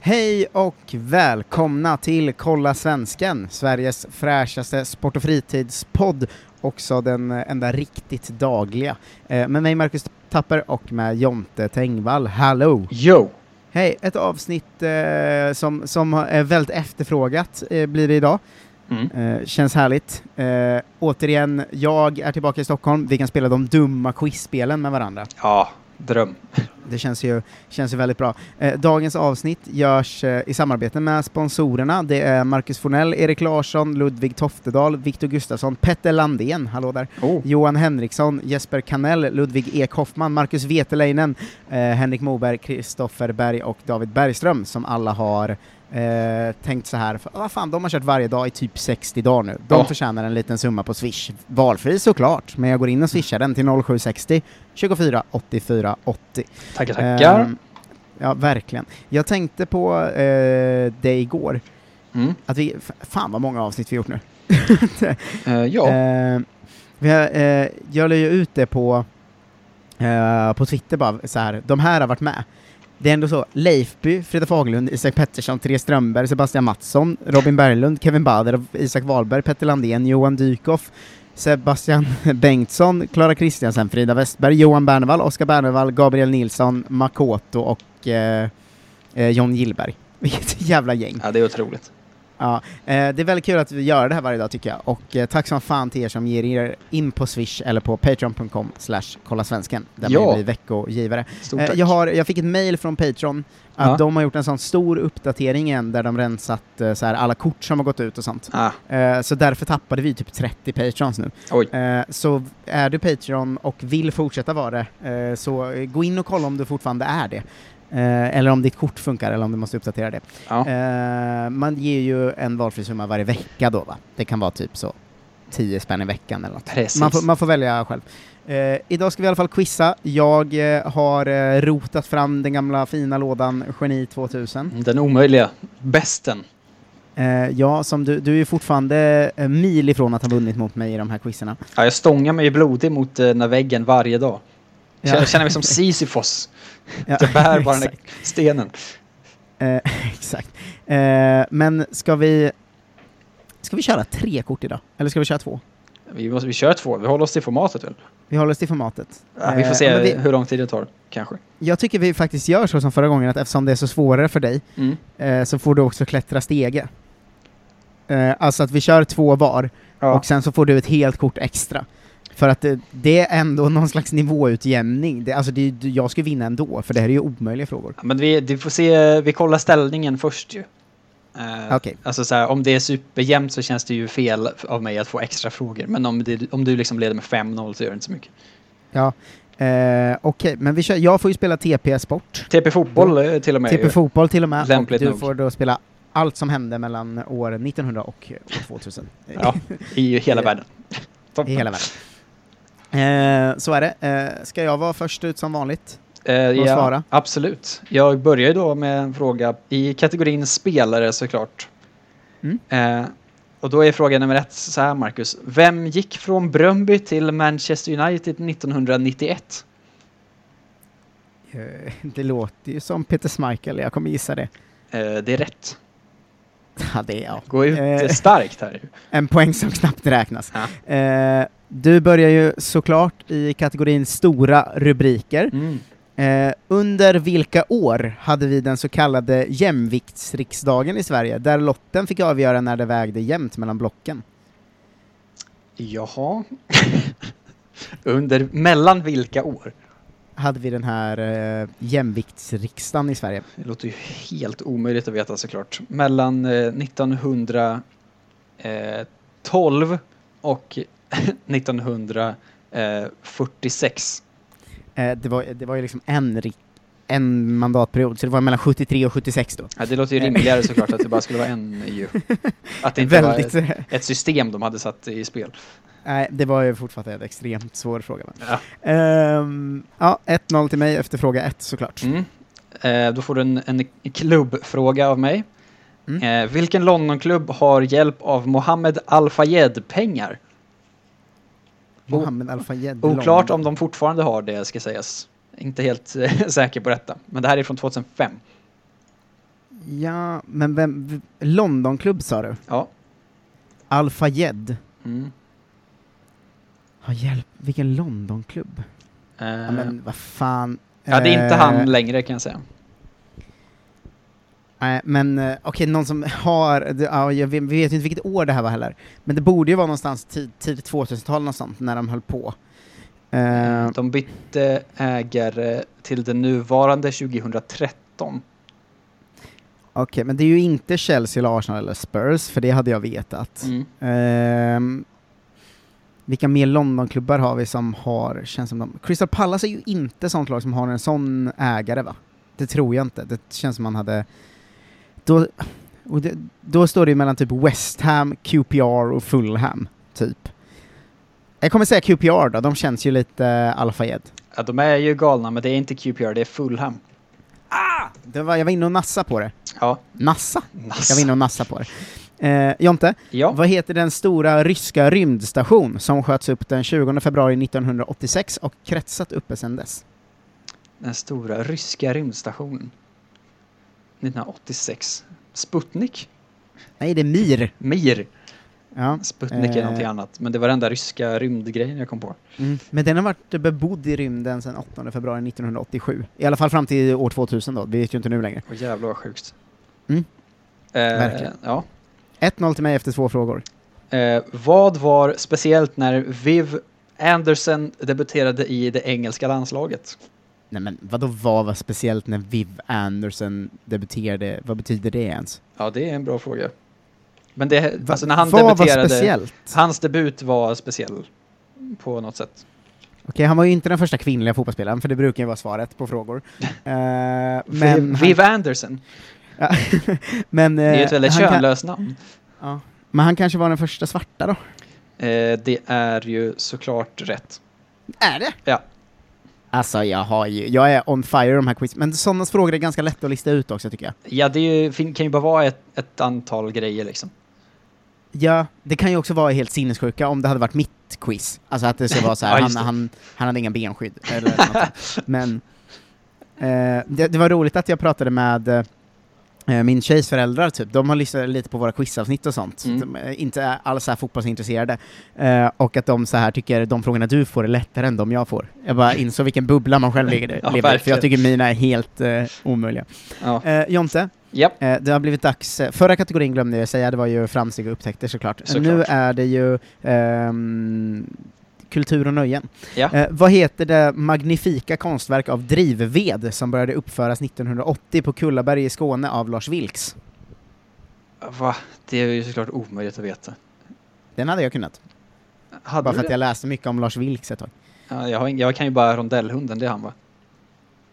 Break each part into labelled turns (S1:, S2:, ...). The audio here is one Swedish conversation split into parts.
S1: Hej och välkomna till Kolla Svensken, Sveriges fräschaste sport och fritidspodd, också den enda riktigt dagliga. Eh, Med mig Marcus Tapper och med Jonte Tengvall. Hallå!
S2: Jo,
S1: Hej! Ett avsnitt eh, som, som är väldigt efterfrågat eh, blir det idag.
S2: Mm.
S1: Eh, känns härligt. Eh, återigen, jag är tillbaka i Stockholm. Vi kan spela de dumma quizspelen med varandra.
S2: ja, dröm.
S1: Det känns ju, känns ju väldigt bra. Eh, dagens avsnitt görs eh, i samarbete med sponsorerna. Det är Marcus Fornell, Erik Larsson, Ludvig Toftedal, Viktor Gustafsson, Petter Landén, hallå där,
S2: Oh.
S1: Johan Henriksson, Jesper Kanell, Ludvig Ek Hoffman, Marcus Veteleinen, eh, Henrik Moberg, Kristoffer Berg och David Bergström som alla har eh, tänkt så här, vad fan, de har kört varje dag i typ 60 dagar nu. De
S2: Ja.
S1: förtjänar en liten summa på Swish. Valfri såklart, men jag går in och swishar den till 0760 24 84 80.
S2: Tackar, tackar.
S1: Ehm, ja, verkligen. Jag tänkte på eh, det igår,
S2: Mm.
S1: att vi, f- fan vad många avsnitt vi gjort nu.
S2: Eh, ja,
S1: Ehm, vi har, eh, jag la ju ut det på, eh, på Twitter bara, så här, de här har varit med. Det är ändå så, Leifby, Frida Faglund, Isak Pettersson, Therese Strömberg, Sebastian Mattsson, Robin Berglund, Kevin Bader, Isak Wahlberg, Petter Landén, Johan Dykhoff, Sebastian Bengtsson, Klara Kristiansen, Frida Westberg, Johan Bernevall, Oskar Bernevall, Gabriel Nilsson, Makoto och eh, eh, John Gillberg. Vilket jävla gäng!
S2: ja, det är otroligt.
S1: Ja, eh, det är väldigt kul att vi gör det här varje dag tycker jag. Och eh, tack som fan till er som ger er in på Swish eller på patreon.com slash kollasvensken, där
S2: Ja.
S1: man blir veckogivare.
S2: Stort
S1: Eh,
S2: tack.
S1: jag, har, jag fick ett mail från Patreon att
S2: Ja.
S1: de har gjort en sån stor uppdatering igen där de rensat eh, så här, alla kort som har gått ut och sånt.
S2: Ah,
S1: Eh, så därför tappade vi typ 30 patrons nu.
S2: oj,
S1: Eh, så är du Patreon och vill fortsätta vara det, eh, så gå in och kolla om du fortfarande är det. Eh, eller om ditt kort funkar eller om du måste uppdatera det.
S2: ja.
S1: Eh, man ger ju en valfri summa varje vecka då va? Det kan vara typ så 10 spänn i veckan eller något.
S2: precis.
S1: Man får, man får välja själv. Eh, idag ska vi i alla fall quizza. Jag eh, har eh, rotat fram den gamla fina lådan Geni 2000.
S2: Den omöjliga, bästen.
S1: Eh, ja, som du, du är ju fortfarande eh, mil ifrån att ha vunnit mot mig i de här quizerna.
S2: Ja, jag stångar mig blodig mot eh, den här väggen varje dag.
S1: Ja.
S2: Jag känner mig som Sisyfos.
S1: Ja,
S2: Jag bär bara den
S1: exakt.
S2: där stenen.
S1: Eh, exakt. Eh, men ska vi... Ska vi köra tre kort idag? Eller ska vi köra två?
S2: Vi, måste, vi kör två, vi håller oss till formatet väl?
S1: Vi håller oss till formatet.
S2: Ja, vi får
S1: Eh,
S2: se
S1: ja, men vi-
S2: hur lång tid det tar, kanske.
S1: Jag tycker vi faktiskt gör så som förra gången, att eftersom det är så svårare för dig
S2: Mm.
S1: eh, så får du också klättra stege. Eh, alltså att vi kör två var,
S2: Ja.
S1: och sen så får du ett helt kort extra. För att det, det är ändå någon slags nivåutjämning. Det, alltså det, är ju- jag ska vinna ändå, för det här är ju omöjliga frågor.
S2: Ja, Men vi, vi får se, vi kollar ställningen först ju. Eh,
S1: Okej.
S2: Alltså så här, om det är superjämnt så känns det ju fel av mig att få extra frågor. Men om, det, om du liksom leder med 5-0 så gör det inte så mycket.
S1: Ja. Eh, Okej, men vi kör, jag får ju spela TP Sport,
S2: TP Fotboll
S1: Mm.
S2: eh, till och med.
S1: TP
S2: ju.
S1: Fotboll till och med,
S2: Lämpligt
S1: och du
S2: nog.
S1: får då spela allt som hände mellan år 1900 och år 2000.
S2: Ja, I hela världen.
S1: Eh, I hela världen. Eh, så är det. Eh, ska jag vara först ut som vanligt?
S2: Eh,
S1: Vad
S2: ja,
S1: svara?
S2: Absolut. Jag börjar ju då med en fråga i kategorin spelare såklart.
S1: Mm.
S2: Eh, och då är fråga nummer ett så här Marcus. Vem gick från Bröndby till Manchester United 1991?
S1: Eh, det låter ju som Peter Schmeichel, jag kommer gissa det.
S2: Eh, det är rätt.
S1: Ja, det är jag.
S2: Gå ut
S1: Eh.
S2: eh, starkt här. ju.
S1: En poäng som knappt räknas.
S2: Ja.
S1: Eh, du börjar ju såklart i kategorin stora rubriker.
S2: Mm.
S1: Eh, under vilka år hade vi den så kallade jämviktsriksdagen i Sverige, där lotten fick avgöra när det vägde jämnt mellan blocken?
S2: Jaha. Under, mellan vilka år?
S1: Hade vi den här eh, jämviktsriksdagen i Sverige?
S2: Det låter ju helt omöjligt att veta såklart. Mellan eh, 1912 och 1946.
S1: Eh, det, var, det var ju liksom en, ri- en mandatperiod, så det var mellan 73 och 76 då.
S2: Ja, det låter ju rimligare såklart att det bara skulle vara en ju. Att det inte
S1: Väldigt...
S2: var ett, ett system de hade satt i spel.
S1: Nej, det var ju fortfarande en extremt svår fråga. Men.
S2: Ja.
S1: Ehm, ja, 1-0 till mig efter fråga 1 såklart.
S2: Mm. Eh, då får du en, en klubbfråga av mig.
S1: Mm.
S2: Eh, vilken Londonklubb har hjälp av Mohammed Al-Fayed-pengar?
S1: Mohammed Al-Fayed.
S2: Mm. Oklart om de fortfarande har det, ska sägas. Inte helt eh, säker på detta. Men det här är från 2005.
S1: Lång. Ja, men vem... v- Londonklubb sa du?
S2: Ja.
S1: Al Fayed.
S2: Mm.
S1: Ja, hjälp, vilken Londonklubb?
S2: Eh,
S1: Ja, men vad fan.
S2: ja, det är inte
S1: Eh,
S2: han längre kan jag säga.
S1: Nej, men eh, okej, någon som har, det- ja, jag vet, vi vet ju inte vilket år det här var heller, men det borde ju vara någonstans tid, tidigt 2000-tal någonstans, när de höll på. Eh,
S2: De bytte ägare till den nuvarande 2013.
S1: Okej, men det är ju inte Chelsea, eller Arsenal eller Spurs, för det hade jag vetat.
S2: Mm.
S1: Ehm, vilka mer Londonklubbar har vi som har, känns som de... Crystal Palace är ju inte sånt lag som har en sån ägare va? Det tror jag inte. Det känns som man hade... Då, och det, då står det ju mellan typ West Ham, QPR och Fulham, typ. Jag kommer säga QPR då, de känns ju lite Al-Fayed.
S2: Ja, de är ju galna, men det är inte QPR, det är Fulham.
S1: Det var, jag var inne och nassa på det.
S2: Ja,
S1: Nassa? Jag var
S2: nice.
S1: inne och nassa på det. Eh, Jonte,
S2: Ja,
S1: Vad heter den stora ryska rymdstation som sköts upp den 20 februari 1986 och kretsat uppe sedan dess?
S2: den stora ryska rymdstationen. 1986. Sputnik?
S1: Nej, det är Mir.
S2: Mir.
S1: Ja.
S2: Sputnik är
S1: Eh.
S2: någonting annat, men det var den där ryska rymdgrejen jag kom på.
S1: Mm. Men den har varit bebodd i rymden sedan 8 februari 1987. I alla fall fram till år 2000 då, vi vet ju inte nu längre.
S2: Och jävlar vad sjukt.
S1: Mm.
S2: Eh,
S1: Verkligen.
S2: Ja.
S1: 1-0 till mig efter två frågor.
S2: Eh, vad var speciellt när Viv Anderson debuterade i det engelska landslaget?
S1: Nej men vadå vad var speciellt när Viv Anderson debuterade? Vad betyder det ens?
S2: Ja, det är en bra fråga. Men det,
S1: Va-
S2: alltså när han
S1: vad
S2: debuterade,
S1: var speciellt?
S2: hans debut var speciell på något sätt.
S1: Okej, han var ju inte den första kvinnliga fotbollsspelaren, för det brukar ju vara svaret på frågor. Eh, men...
S2: Men
S1: han-
S2: Viv Anderson,
S1: Ja, men,
S2: det är ju
S1: eh,
S2: ett väldigt
S1: han kan-
S2: könlöst namn.
S1: Ja. Men han kanske var den första svarta då?
S2: Eh, det är ju såklart rätt.
S1: Är det?
S2: Ja.
S1: Alltså jag har ju, jag är on fire i de här quiz, men sådana frågor är ganska lätta att lista ut också tycker jag.
S2: Ja, det är ju, fin- kan ju bara vara ett, ett antal grejer liksom.
S1: Ja, det kan ju också vara helt sinnessjuka om det hade varit mitt quiz. Alltså att det skulle vara så här,
S2: Ja,
S1: han,
S2: just det.
S1: han, han hade inga benskydd eller något sånt. Men eh, det, det var roligt att jag pratade med eh, min tjejs föräldrar, typ. de har lyssnat lite på våra quizavsnitt och sånt.
S2: Mm.
S1: De är inte alls så här fotbollsintresserade. Eh, och att de så här tycker de frågorna du får är lättare än de jag får. Jag bara insåg vilken bubbla man själv ligger
S2: Ja,
S1: lever i, för
S2: verkligen.
S1: jag tycker mina är helt eh, omöjliga.
S2: Ja.
S1: Eh, Jonte,
S2: Japp.
S1: Eh, Det har blivit dags, förra kategorin glömde jag säga, det var ju framsteg och upptäckter såklart.
S2: Såklart.
S1: Nu är det ju ehm, kultur och nöjen.
S2: Ja.
S1: Eh, vad heter det magnifika konstverk av drivved som började uppföras 1980 på Kullaberg i Skåne av Lars Vilks?
S2: Va? Det är ju såklart omöjligt att veta.
S1: Den hade jag kunnat,
S2: Hade
S1: bara
S2: du
S1: för att
S2: det?
S1: jag läste mycket om Lars Vilks ett tag.
S2: Ja, jag, har ing- jag kan ju bara rondellhunden, det är han va?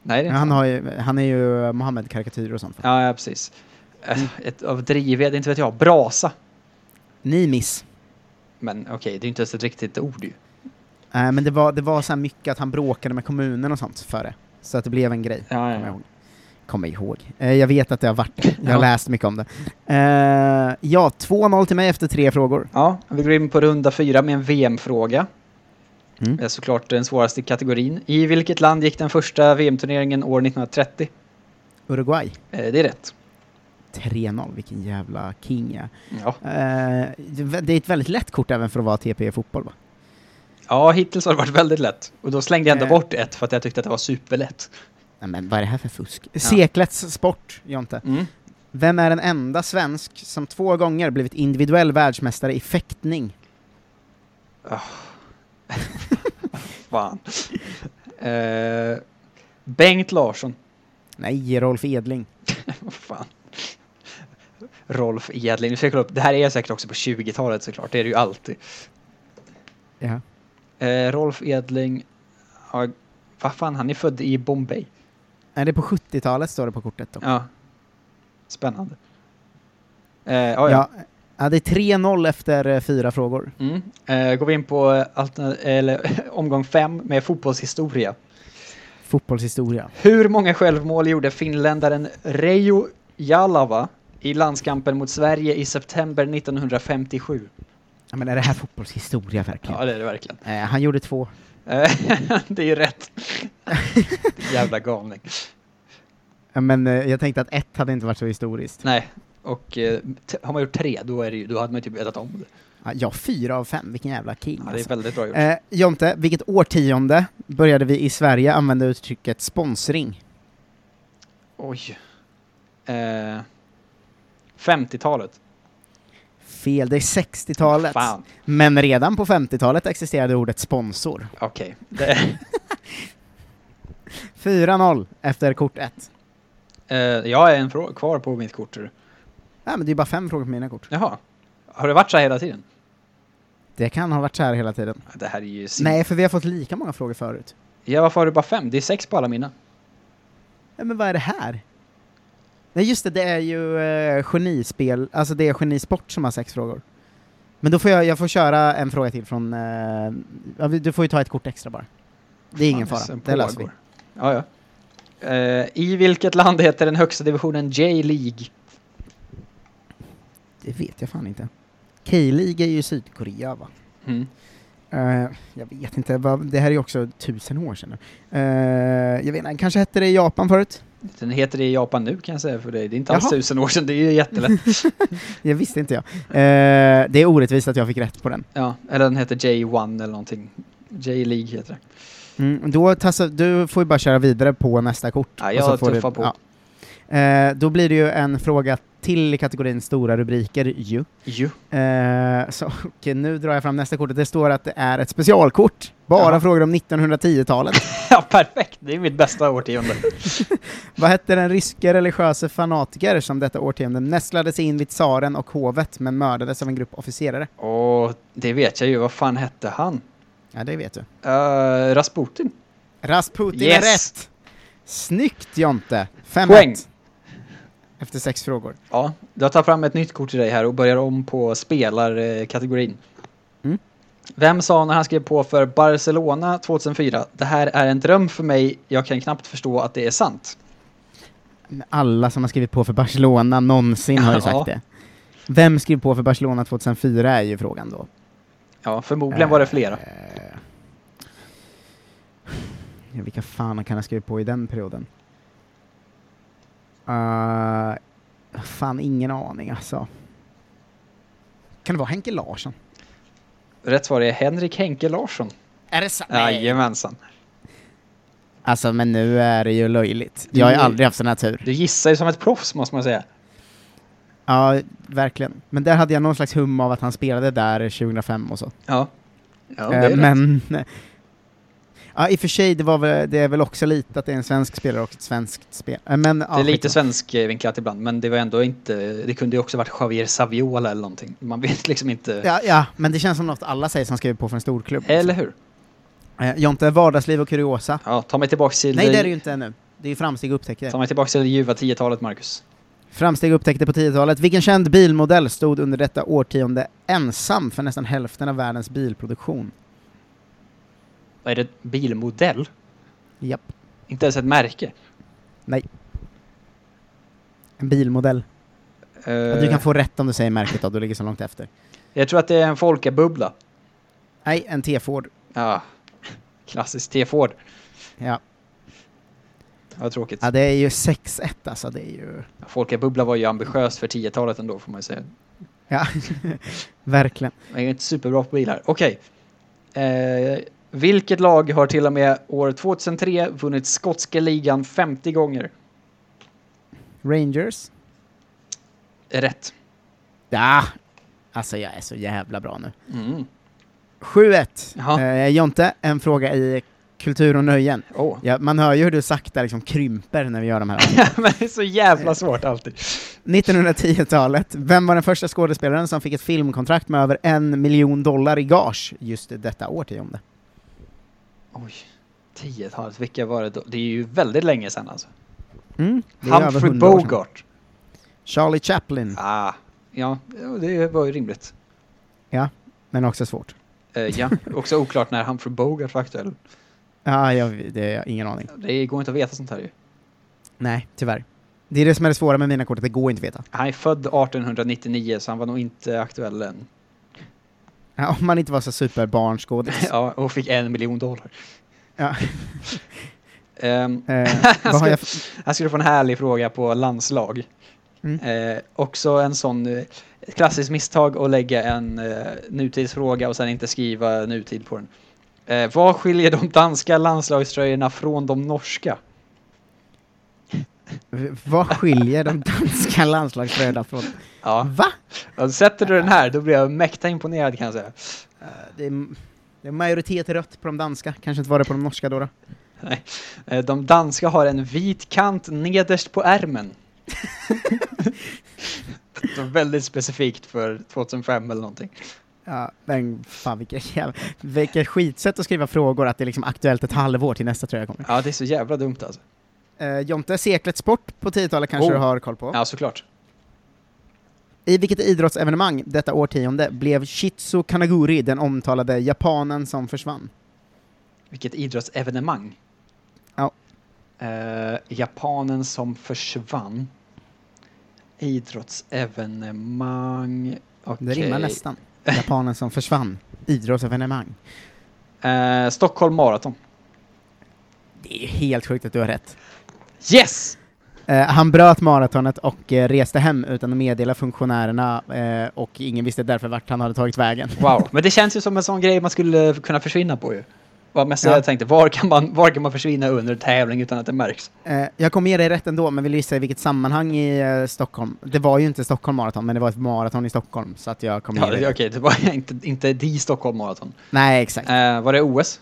S2: Nej, det är inte
S1: Han, har ju, han är ju Mohammed-karikatyr och sånt.
S2: Ja, ja, precis. Eh, Ett, av drivved, inte vet jag, brasa.
S1: Ni miss.
S2: Men okej, det är inte ens ett riktigt ord ju.
S1: Eh, men det var, det var så här mycket att han bråkade med kommunen och sånt för det. Så att det blev en grej.
S2: Ja,
S1: Kommer jag ihåg. Kommer ihåg. Eh, jag vet att det har varit det. Jag har
S2: Ja.
S1: läst mycket om det. Eh, ja, 2-0 till mig efter tre frågor.
S2: Ja, vi går in på runda fyra med en VM-fråga.
S1: Mm.
S2: Det är såklart den svåraste kategorin. I vilket land gick den första VM-turneringen år 1930?
S1: Uruguay.
S2: Eh, Det är rätt.
S1: 3-0, vilken jävla king jag är.
S2: Ja.
S1: Eh, det- det är ett väldigt lätt kort även för att vara TP Fotboll va?
S2: ja, hittills har det varit väldigt lätt. Och då slängde jag ändå
S1: Eh.
S2: bort ett för att jag tyckte att det var superlätt.
S1: Nej, men vad är det här för fusk? Seklets sport, Jonte.
S2: Mm.
S1: Vem är den enda svensk som två gånger blivit individuell världsmästare i fäktning?
S2: Fan. Eh, Bengt Larsson.
S1: Nej, Rolf Edling.
S2: Vad fan. Rolf Edling. Nu ska jag kolla upp. Det här är säkert också på 20-talet såklart. Det är det ju alltid.
S1: Ja.
S2: Eh, Rolf Edling. Ja, vad fan, han är född i Bombay.
S1: Är det är på 70-talet står det på kortet då?
S2: Ja. Spännande. Eh, ja, ja.
S1: ja. Ja, det är 3-0 efter eh, fyra frågor.
S2: Mm. Eh, går vi in på eh, alterna- eller, omgång fem med fotbollshistoria.
S1: Fotbollshistoria.
S2: Hur många självmål gjorde finländaren Reijo Jalava i landskampen mot Sverige i september 1957?
S1: Ja, men är det här fotbollshistoria verkligen?
S2: Ja, det är det verkligen.
S1: Eh, han gjorde två.
S2: Eh, det är ju rätt. Jävla galning.
S1: men eh, jag tänkte att ett hade inte varit så historiskt.
S2: Nej, och eh, t- har man gjort tre, då, är det ju, då hade man ju typ vetat om det.
S1: Ja, Ja, fyra av fem, vilken jävla king
S2: Ja, det är
S1: alltså.
S2: väldigt bra gjort.
S1: eh, Jonte, vilket årtionde började vi i Sverige använda uttrycket sponsring?
S2: Oj. Eh, 50-talet.
S1: Fel, det är 60-talet.
S2: Fan,
S1: Men redan på 50-talet existerade ordet sponsor.
S2: okej. Det-
S1: 4-0 efter kort ett.
S2: Eh, jag är en frå- kvar på mitt kort. tror du.
S1: Nej, men det är bara fem frågor på mina kort.
S2: Jaha. Har det varit så här hela tiden?
S1: Det kan ha varit så här hela tiden.
S2: Det här är ju... sin-
S1: Nej, för vi har fått lika många frågor förut.
S2: Ja, varför har du bara fem? Det är sex på alla mina.
S1: Ja, men vad är det här? Nej, just det, det är ju eh, genispel, alltså det är genisport som har sex frågor. Men då får jag, jag får köra en fråga till från, eh, ja, vi- du får ju ta ett kort extra bara. Det är ingen
S2: Fan,
S1: fara,
S2: sen
S1: det löser vi.
S2: pågår. Ja, ja. Eh, I vilket land heter den högsta divisionen J-League?
S1: Det vet jag fan inte. K-League är ju Sydkorea va?
S2: Mm.
S1: Eh, jag vet inte, vad- det här är ju också tusen år sedan nu. Eh, jag vet inte, kanske hette det i Japan förut?
S2: Den heter det i Japan nu kan jag säga för dig. Det är inte alls
S1: Jaha.
S2: tusen år sedan, det är ju jättelätt.
S1: Det visste inte jag. Eh, det är orättvist att jag fick rätt på den.
S2: ja, eller den heter J1 eller någonting. J-League heter det.
S1: Mm, då tassar, du får ju bara köra vidare på nästa kort.
S2: Ja,
S1: och
S2: jag
S1: så får
S2: tuffar på.
S1: Eh, då blir det ju en fråga till i kategorin stora rubriker ju.
S2: Ju.
S1: Eh, så, okej, nu drar jag fram nästa kortet. Det står att det är ett specialkort. Bara
S2: Jaha.
S1: frågor om 1910-talet.
S2: Ja, perfekt! Det är mitt bästa årtionde.
S1: Vad hette den ryske religiöse fanatiker som detta årtionde nästlade sig in vid tsaren och hovet men mördades av en grupp officerare?
S2: Åh, det vet jag ju. Vad fan hette han?
S1: Ja, det vet du.
S2: Eh, Rasputin.
S1: Rasputin
S2: Yes.
S1: är rätt! Snyggt Jonte! 5
S2: Poäng.
S1: Efter sex frågor.
S2: Ja, jag tar fram ett nytt kort till dig här och börjar om på spelarkategorin.
S1: Mm.
S2: Vem sa när han skrev på för Barcelona 2004 Det här är en dröm för mig, jag kan knappt förstå att det är sant.
S1: Alla som har skrivit på för Barcelona någonsin har ju sagt
S2: Ja.
S1: det. Vem skrev på för Barcelona 2004 är ju frågan då.
S2: Ja, förmodligen var det flera.
S1: Eh, Ja, vilka fan kan ha skrivit på i den perioden? Eh, fan, ingen aning alltså. Kan det vara Henke Larsson?
S2: Rätt svar är Henrik Henke Larsson.
S1: Är det sant?
S2: Jajamensan.
S1: Alltså, men nu är det ju löjligt. Jag har ju
S2: Mm.
S1: aldrig haft sån här tur.
S2: Du gissar ju som ett proffs måste man säga.
S1: Ja, verkligen. Men där hade jag någon slags hum av att han spelade där 2005 och så.
S2: Ja. ja det
S1: Eh,
S2: är rätt.
S1: men... Ja, i och för sig, det, var väl, det är väl också lite att det är en svensk spelare och ett svenskt spel. Eh, Men,
S2: det är lite svenskvinklat ibland, men det var ändå inte... Det kunde ju också varit Javier Saviola eller någonting. Man vet liksom inte...
S1: Ja, ja, men det känns som något alla säger som skriver på för en stor klubb. liksom.
S2: Eller hur?
S1: Eh, Jonte, vardagsliv och kuriosa.
S2: Ja, ta mig tillbaka till...
S1: Nej, det är det ju inte ännu. Det är ju framsteg och
S2: Ta
S1: upptäckter.
S2: mig tillbaka till det ljuva 10-talet, Marcus.
S1: Framsteg och upptäckter på 10-talet. Vilken känd bilmodell stod under detta årtionde ensam för nästan hälften av världens bilproduktion?
S2: Vad är det? Bilmodell?
S1: Japp.
S2: Inte ens ett märke?
S1: En bilmodell.
S2: Eh,
S1: Du kan få rätt om du säger märket då, du ligger så långt efter.
S2: Jag tror att det är en folkabubbla.
S1: Nej, en T-Ford.
S2: Ja. Klassisk T-Ford.
S1: Ja.
S2: Vad tråkigt.
S1: ja, det är ju 6-1 alltså, det är ju...
S2: Folkabubbla var ju ambitiöst för 10-talet ändå, får man ju säga.
S1: Ja, verkligen.
S2: Jag är inte superbra på bilar. Okej. Eh, vilket lag har till och med år 2003 vunnit skotska ligan 50 gånger?
S1: Rangers?
S2: Rätt.
S1: Ja. Alltså, jag är så jävla bra nu.
S2: Mm.
S1: 7-1.
S2: Jaha.
S1: Eh, Jonte, en fråga i kultur och nöjen.
S2: Åh.
S1: Ja, man hör ju hur du sakta liksom krymper när vi gör de här.
S2: Men det är så jävla svårt alltid.
S1: 1910-talet, vem var den första skådespelaren som fick ett filmkontrakt med över en miljon dollar i gage just detta årtionde?
S2: Oj. 10-talet, vilka var det då? Det är ju väldigt länge sedan alltså.
S1: Mm, det är över
S2: Humphrey
S1: 100 år sedan.
S2: Bogart.
S1: Charlie Chaplin,
S2: Ah, ja, det var ju rimligt.
S1: men också svårt.
S2: Eh, ja, också oklart när Humphrey Bogart var aktuell.
S1: Ja, jag, det är ingen aning.
S2: Det går inte att veta sånt här ju.
S1: Nej, tyvärr. Det är det som är det svåra med mina kort, att det går inte att veta.
S2: Han är född 1899 så han var nog inte aktuell än.
S1: Ja, om man inte var så superbarnskådis.
S2: ja, och fick en miljon dollar.
S1: Ja.
S2: Ehm,
S1: Eh,
S2: Här
S1: vad har
S2: ska-
S1: jag...
S2: här ska du få en härlig fråga på landslag.
S1: Mm.
S2: Eh, också en sån eh, ett klassiskt misstag att lägga en eh, nutidsfråga och sen inte skriva nutid på den. Eh, vad skiljer de danska landslagströjorna från de norska?
S1: Vad skiljer de danska landslagsbröderna från...
S2: Ja,
S1: Va?
S2: och sätter du den här då blir jag mäkta imponerad kan jag säga.
S1: Eh, Det är, det är majoritet rött på de danska, kanske inte var det på de norska då. då.
S2: Nej. Eh, De danska har en vit kant nederst på ärmen. Det var väldigt specifikt för 2005 eller någonting.
S1: Ja, men fan vilket, jävla, vilket skitsätt att skriva frågor att det är liksom aktuellt ett halvår till nästa tröja kommer.
S2: Ja, det är så jävla dumt alltså.
S1: Eh, Jonte, seklets sport på 10-talet kanske
S2: Oh.
S1: du har koll på?
S2: Ja, såklart.
S1: I vilket idrottsevenemang detta årtionde blev Shitsu Kanaguri den omtalade japanen som försvann?
S2: Vilket idrottsevenemang.
S1: Ja.
S2: Eh, japanen som försvann. Idrottsevenemang.
S1: Det
S2: Okej.
S1: rimmar nästan. Japanen som försvann. Idrottsevenemang.
S2: Eh, Stockholm Marathon.
S1: Det är ju helt sjukt att du har rätt.
S2: Yes!
S1: Eh, han bröt maratonet och eh, reste hem utan att meddela funktionärerna eh, och ingen visste därför vart han hade tagit vägen.
S2: Wow. Men det känns ju som en sån grej man skulle kunna försvinna på ju. Vad mest
S1: Ja.
S2: jag tänkte, var kan, man, var kan man försvinna under tävling utan att det märks?
S1: Eh, jag kom med dig rätt ändå, men vill gissa i vilket sammanhang i eh, Stockholm? Det var ju inte Stockholm Marathon, men det var ett maraton i Stockholm, så att jag kom med
S2: Ja,
S1: dig.
S2: det-
S1: rätt.
S2: Okej, det var inte, inte de Stockholm Marathon.
S1: Nej, exakt.
S2: Eh, var det OS?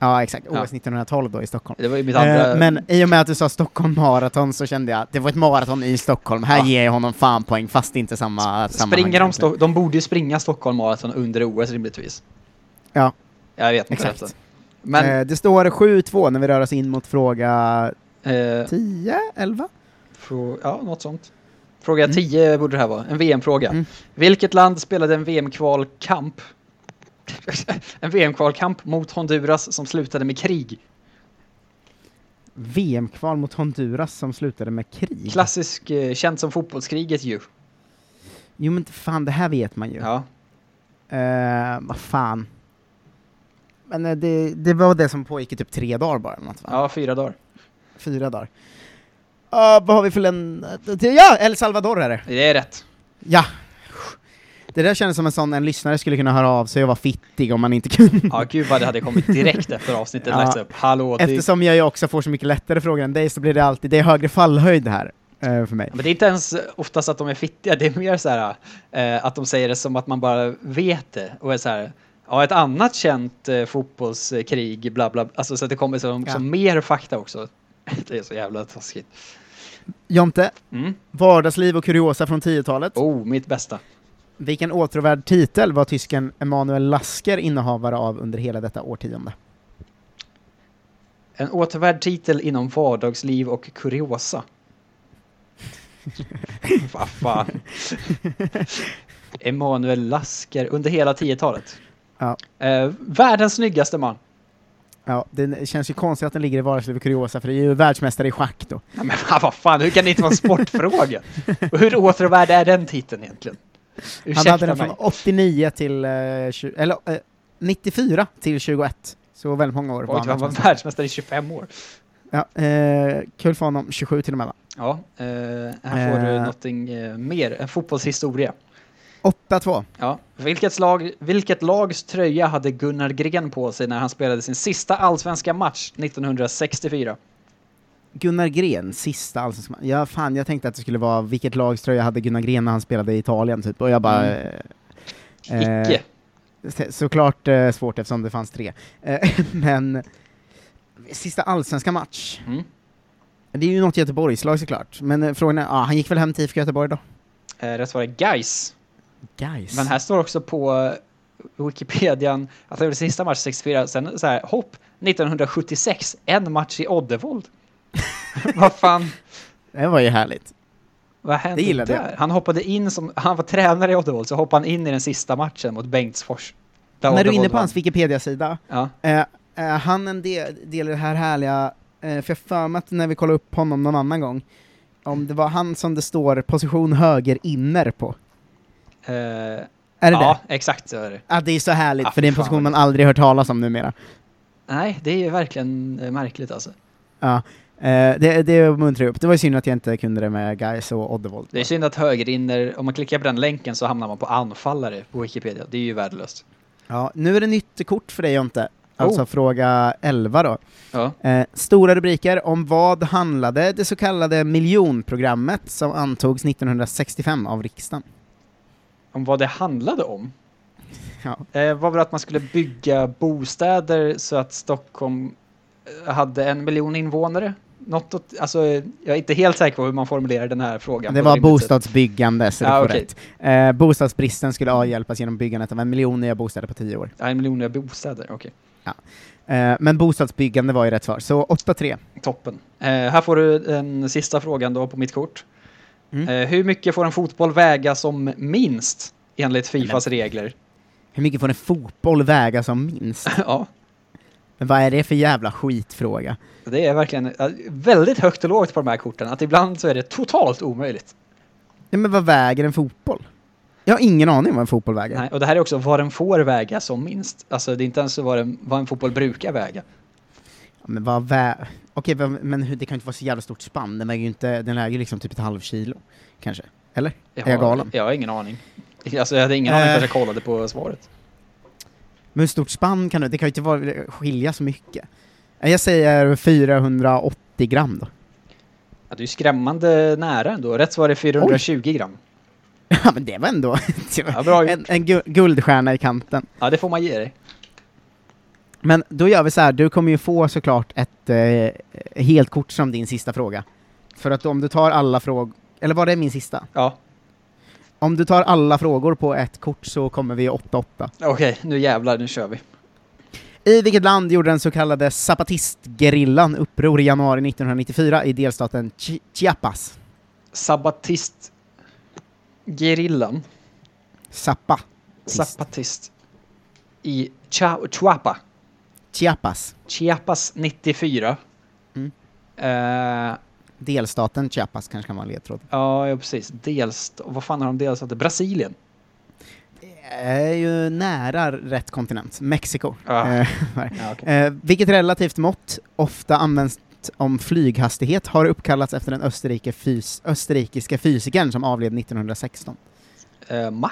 S1: Ja, exakt. OS
S2: Ja.
S1: 1912 då i Stockholm.
S2: Det var ju mitt andra...
S1: Eh, men i och med att du sa Stockholm Marathon så kände jag att det var ett maraton i Stockholm, här
S2: Ja.
S1: ger jag honom fan poäng fast det inte samma sammanhang.
S2: Springer de,
S1: egentligen.
S2: Sto- de borde ju springa Stockholm Marathon under OS rimligtvis.
S1: Ja,
S2: Jag vet inte.
S1: Exakt.
S2: detta. Men
S1: eh, det står 7-2 när vi rör oss in mot fråga
S2: Eh,
S1: 10, 11?
S2: frå- ja, något sånt. Fråga 10 borde det här vara. En VM-fråga.
S1: Mm.
S2: Vilket land spelade en VM-kvalkamp? en VM-kvalkamp mot Honduras som slutade med krig.
S1: VM-kval mot Honduras som slutade med krig.
S2: Klassisk, eh, känt som fotbollskriget ju.
S1: Jo men fan, det här vet man ju.
S2: Ja.
S1: Eh, vad fan. Men eh, det, det var det som pågick i typ tre dagar bara, eller något, va?
S2: ja, fyra dagar.
S1: Fyra dagar. Ah, vad har vi för länder? Ja, El Salvador är det!
S2: Det är rätt.
S1: Ja! Det där kändes som en sån en lyssnare skulle kunna höra av sig och vara fittig om man inte kunde.
S2: Ja, gud vad det hade kommit direkt efter avsnittet
S1: Ja.
S2: lagts upp. Hallå, det...
S1: Eftersom jag ju också får så mycket lättare frågor än dig så blir det alltid, det är högre fallhöjd här eh, för mig.
S2: Men det är inte ens oftast att de är fittiga, det är mer så här eh, att de säger det som att man bara vet det och är så här Ja, ett annat känt eh, fotbollskrig, bla bla, alltså så att det kommer som,
S1: Ja.
S2: som mer fakta också. Det är så jävla taskigt.
S1: Jonte,
S2: Mm.
S1: vardagsliv och kuriosa från 10-talet.
S2: Oh, mitt bästa.
S1: Vilken åtråvärd titel var tysken Emanuel Lasker innehavare av under hela detta årtionde?
S2: En återvärd titel inom vardagsliv och kuriosa. Vad fan. Emanuel Lasker under hela 10-talet.
S1: Ja.
S2: Eh, världens snyggaste man.
S1: Ja, det känns ju konstigt att den ligger i vardagsliv och kuriosa, för det är ju världsmästare i schack då.
S2: Ja, men fan, vad fan, hur kan det inte vara en sportfråga? Och hur återvärd är den titeln egentligen?
S1: Han
S2: Ursäkta
S1: hade den från
S2: mig.
S1: 89 till, eh, tju- eller eh, 94 till 21. Så väldigt många år
S2: Oj, han var
S1: världsmästare.
S2: världsmästare i 25 år.
S1: Ja, eh, kul för honom, 27 till och med va?
S2: Ja, eh, här får du
S1: Eh.
S2: någonting eh, mer. En fotbollshistoria.
S1: 8-2.
S2: Ja. Vilket, slag, vilket lags tröja hade Gunnar Gren på sig när han spelade sin sista allsvenska match
S1: Eh.
S2: 1964?
S1: Gunnar Gren, sista allsvenska man- Ja, fan, jag tänkte att det skulle vara vilket lagströja hade Gunnar Gren när han spelade i Italien, typ. Och jag bara...
S2: Mm.
S1: eh,
S2: Icke.
S1: Eh, såklart eh, svårt eftersom det fanns tre. Eh, men... Sista allsvenska match.
S2: Mm.
S1: Det är ju något Göteborgslag såklart, men eh, frågan är, ja, han gick väl hem till IFK Göteborg då?
S2: Eh, rätt svar är Gais.
S1: Guys.
S2: Men här står också på eh, Wikipedian att det var sista match 64, sen så här, hopp, 1976, en match i Oddevold. Vad fan,
S1: Det var ju härligt.
S2: vad hände
S1: Det gillade
S2: där? Han hoppade in som, han var tränare i Oddevold, så hoppade han in i den sista matchen mot Bengtsfors. Där
S1: När du är
S2: Oddevold
S1: inne på
S2: vann.
S1: hans Wikipedia-sida,
S2: Ja,
S1: eh, eh, han en del, del i det här härliga, eh, för jag har för mig att när vi kollade upp honom någon annan gång, om det var han som det står position höger inner på.
S2: eh,
S1: Är det
S2: ja
S1: det?
S2: exakt så är det.
S1: Ja, det är så härligt,
S2: Ah,
S1: för det är en
S2: fan
S1: position
S2: vad
S1: man aldrig hört talas om numera.
S2: Nej, det är ju verkligen eh, märkligt alltså.
S1: Ja. Eh, det, det muntrar jag upp. Det var ju synd att jag inte kunde det med guys och Oddevold.
S2: Det är synd att högerinner, om man klickar på den länken så hamnar man på anfallare på Wikipedia. Det är ju värdelöst.
S1: Ja, nu är det nytt kort för dig Jonte. Alltså
S2: Oh.
S1: fråga 11 då.
S2: Ja.
S1: Eh, stora rubriker om vad handlade det så kallade miljonprogrammet som antogs 1965 av riksdagen?
S2: Om vad det handlade om
S1: Ja.
S2: eh, var väl att man skulle bygga bostäder så att Stockholm eh, hade en miljon invånare. Något åt, alltså, eh, jag är inte helt säker på hur man formulerar den här frågan.
S1: Det
S2: på
S1: var
S2: ett rimligt sätt.
S1: bostadsbyggande, så du
S2: Ja,
S1: får
S2: typ- Ah, okej.
S1: rätt. Eh, bostadsbristen skulle avhjälpas genom byggandet av en miljon nya bostäder på tio år.
S2: Ja, en miljon nya bostäder, okej.
S1: Eh, men bostadsbyggande var ju rätt svar, så 8-3.
S2: Toppen. Eh, här får du den sista frågan då på mitt kort.
S1: Mm.
S2: Eh, hur mycket får en fotboll väga som minst enligt Fifas regler?
S1: Hur mycket får en fotboll väga som minst?
S2: ja,
S1: Men vad är det för jävla skitfråga?
S2: det är verkligen eh, väldigt högt och lågt på de här korten. Att ibland så är det totalt omöjligt.
S1: Nej, men vad väger en fotboll? Jag har ingen aning vad en fotboll väger.
S2: Nej, och det här är också vad den får väga som minst. Alltså det är inte ens vad, den, vad en fotboll brukar väga.
S1: Ja, Men vad vä... Okej, vad- men hur, det kan ju inte vara så jävla stort spann. Den väger ju inte, den väger ju liksom typ ett halvkilo, kanske. Eller? Är jag galen?
S2: Jag har ingen aning. Alltså jag hade ingen
S1: Eh.
S2: aning förrän jag kollade på svaret.
S1: Men hur stort spann kan det Det kan ju inte vara, skilja så mycket. Nej, Jag säger 480 gram då.
S2: Ja, det är ju skrämmande nära ändå. Rätt svar är 420 gram.
S1: Ja, men det var ändå det var
S2: Ja, bra gjort.
S1: en, en gu- guldstjärna i kanten.
S2: Ja, det får man ge dig.
S1: Men då gör vi så här, du kommer ju få såklart ett eh, helt kort som din sista fråga. För att om du tar alla frågor, eller var det min sista?
S2: Ja,
S1: Om du tar alla frågor på ett kort så kommer vi 8-8.
S2: okej, nu jävlar, nu kör vi.
S1: I vilket land gjorde den så kallade zapatistgerillan uppror i januari 1994 i delstaten Chi- Chiapas?
S2: Sabatist... Gerillan.
S1: Zappa. Tist.
S2: Zapatist. I Chia- Chuapa.
S1: Chiapas.
S2: Chiapas 94.
S1: Mm.
S2: Eh,
S1: Delstaten Chiapas kanske kan vara en ledtråd.
S2: ja, ja, precis. Delst... Vad fan har de delstater? Brasilien.
S1: Det är ju nära rätt kontinent. Mexiko.
S2: Ah.
S1: Eh,
S2: Ja, okej.
S1: Eh, vilket relativt mått, ofta används om flyghastighet, har uppkallats efter den österrike fys- österrikiska fysikern som avled 1916.
S2: Eh, Mac.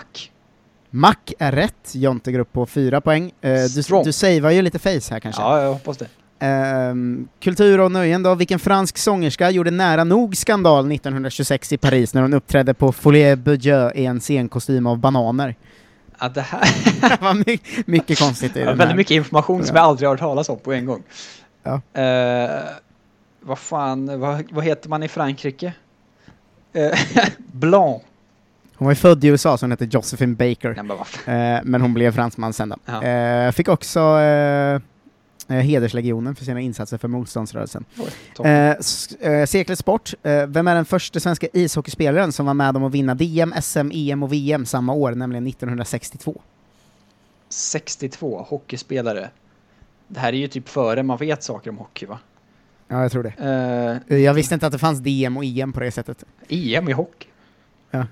S1: Mac är rätt, Jonte går upp på fyra poäng. Eh, du,
S2: Strong.
S1: du savear ju lite face här kanske.
S2: Ja, jag hoppas det.
S1: Ehm, kultur och nöjen då, vilken fransk sångerska gjorde nära nog skandal 1926 i Paris när hon uppträdde på Folie Budget i en scenkostym av bananer?
S2: Att det här
S1: det var my- mycket konstigt i
S2: är
S1: den här.
S2: väldigt mycket information som jag aldrig har hört talas om på en gång.
S1: Ja.
S2: Eh, vad fan, vad, vad heter man i Frankrike? Eh, Blanc.
S1: Hon var ju född i USA så hon hette Josephine Baker.
S2: Nej, men vad fan.
S1: Eh, men hon blev fransman sen då.
S2: Ja.
S1: Eh, fick också eh, eh, hederslegionen för sina insatser för motståndsrörelsen.
S2: Oj, toppen.
S1: Eh, s- eh, Seklets sport. Eh, vem är den första svenska ishockeyspelaren som var med om att vinna DM, SM, EM E och VM samma år, nämligen 1962?
S2: 62, hockeyspelare. Det här är ju typ före man vet saker om hockey va?
S1: Ja, jag tror det.
S2: Eh,
S1: Eh, Jag visste inte att det fanns DM och EM på det sättet.
S2: EM i hockey? E
S1: Ja.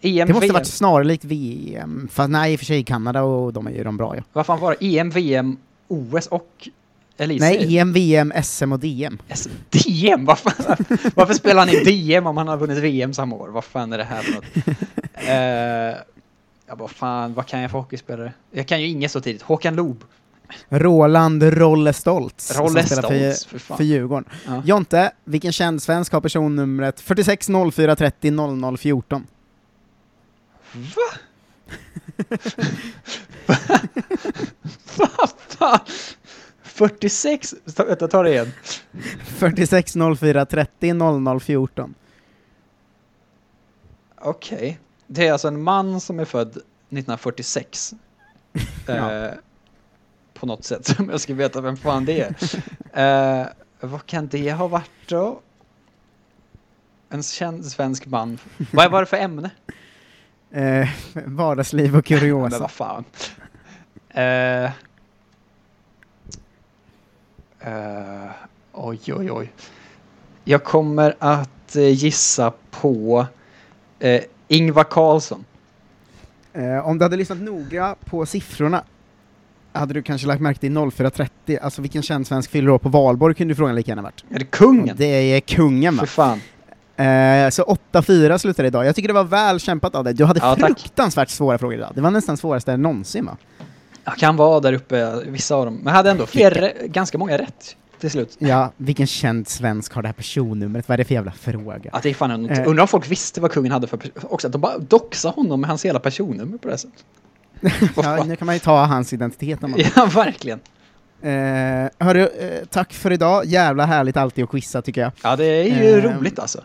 S2: EM,
S1: Det måste
S2: VM.
S1: varit snarlikt VM, fast nej i och för sig Kanada och de är ju de bra ja.
S2: Vad fan var det? E EM, VM, OS och... Elise?
S1: Nej, E EM, VM, SM och DM.
S2: Alltså, DM? Vad fan? Varför spelar han i DM om han har vunnit VM samma år? Vad fan är det här för något? Eh, ja, vad fan, vad kan jag för hockeyspelare? Jag kan ju inget så tidigt. Håkan Loob.
S1: Roland Rolle Stoltz. som
S2: Rolle
S1: spelar för-
S2: Stoltz, för fan.
S1: för Djurgården.
S2: Ja.
S1: Jonte, vilken känd svensk har personnumret 46 04 30 00 14?
S2: Vad fan? 46? Ta, vänta, ta det igen.
S1: 46 04 30 00 14.
S2: Okej. Det är alltså en man som är född 1946. eh, på något sätt, som jag ska veta vem fan det är. eh, vad kan det ha varit då? En känd svensk man. Vad var det för ämne?
S1: Eh, vardagsliv och
S2: Ja, Men
S1: kuriosa.
S2: vad fan. Eh, eh, oj, oj, oj. Jag kommer att eh, gissa på eh, Ingvar Carlsson.
S1: Eh, om du hade lyssnat noga på siffrorna hade du kanske lagt märke till 04.30, alltså vilken känd svensk fyller år på valborg kunde du frågan lika gärna varit.
S2: Är det kungen?
S1: Det är kungen va?
S2: För fan.
S1: Eh, så 8-4 slutar det idag. Jag tycker det var väl kämpat av dig. Du hade
S2: Ja, tack.
S1: fruktansvärt svåra frågor idag. Det var nästan svåraste någonsin va?
S2: Jag kan vara där uppe, vissa av dem. Men jag hade ändå fler, ganska många rätt till slut.
S1: Ja, vilken känd svensk har det här personnumret? Vad är det för jävla fråga?
S2: Att det är fan en,
S1: Eh.
S2: Undrar om folk visste vad kungen hade för pers- Också att de bara doxade honom med hans hela personnummer på det här sättet. Alltså, Vad
S1: Ja,
S2: fan.
S1: nu kan man ju ta hans identitet om man
S2: ja, verkligen.
S1: Eh, hörru, eh, tack för idag. Jävla härligt alltid att quizza tycker jag.
S2: Ja, det är ju
S1: Ehm.
S2: roligt alltså.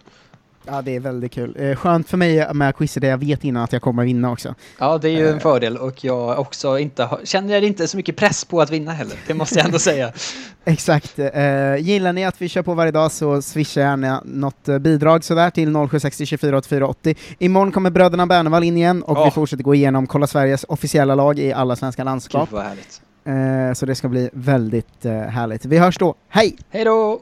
S1: Ja, det är väldigt kul. Eh, skönt för mig med quizzer där jag vet innan att jag kommer vinna också.
S2: Ja, det är ju en fördel och jag också inte har, känner jag inte så mycket press på att vinna heller. Det måste jag ändå säga.
S1: Exakt. Eh, gillar ni att vi kör på varje dag så swisha gärna något eh, bidrag sådär till 0760 24 84 80. Imorgon kommer bröderna Bernevall in igen och
S2: Ja.
S1: vi fortsätter gå igenom Kolla Sveriges officiella lag i alla svenska
S2: Gud
S1: landskap.
S2: vad härligt.
S1: Eh, så det ska bli väldigt eh, härligt. Vi hörs då. Hej!
S2: Hej då!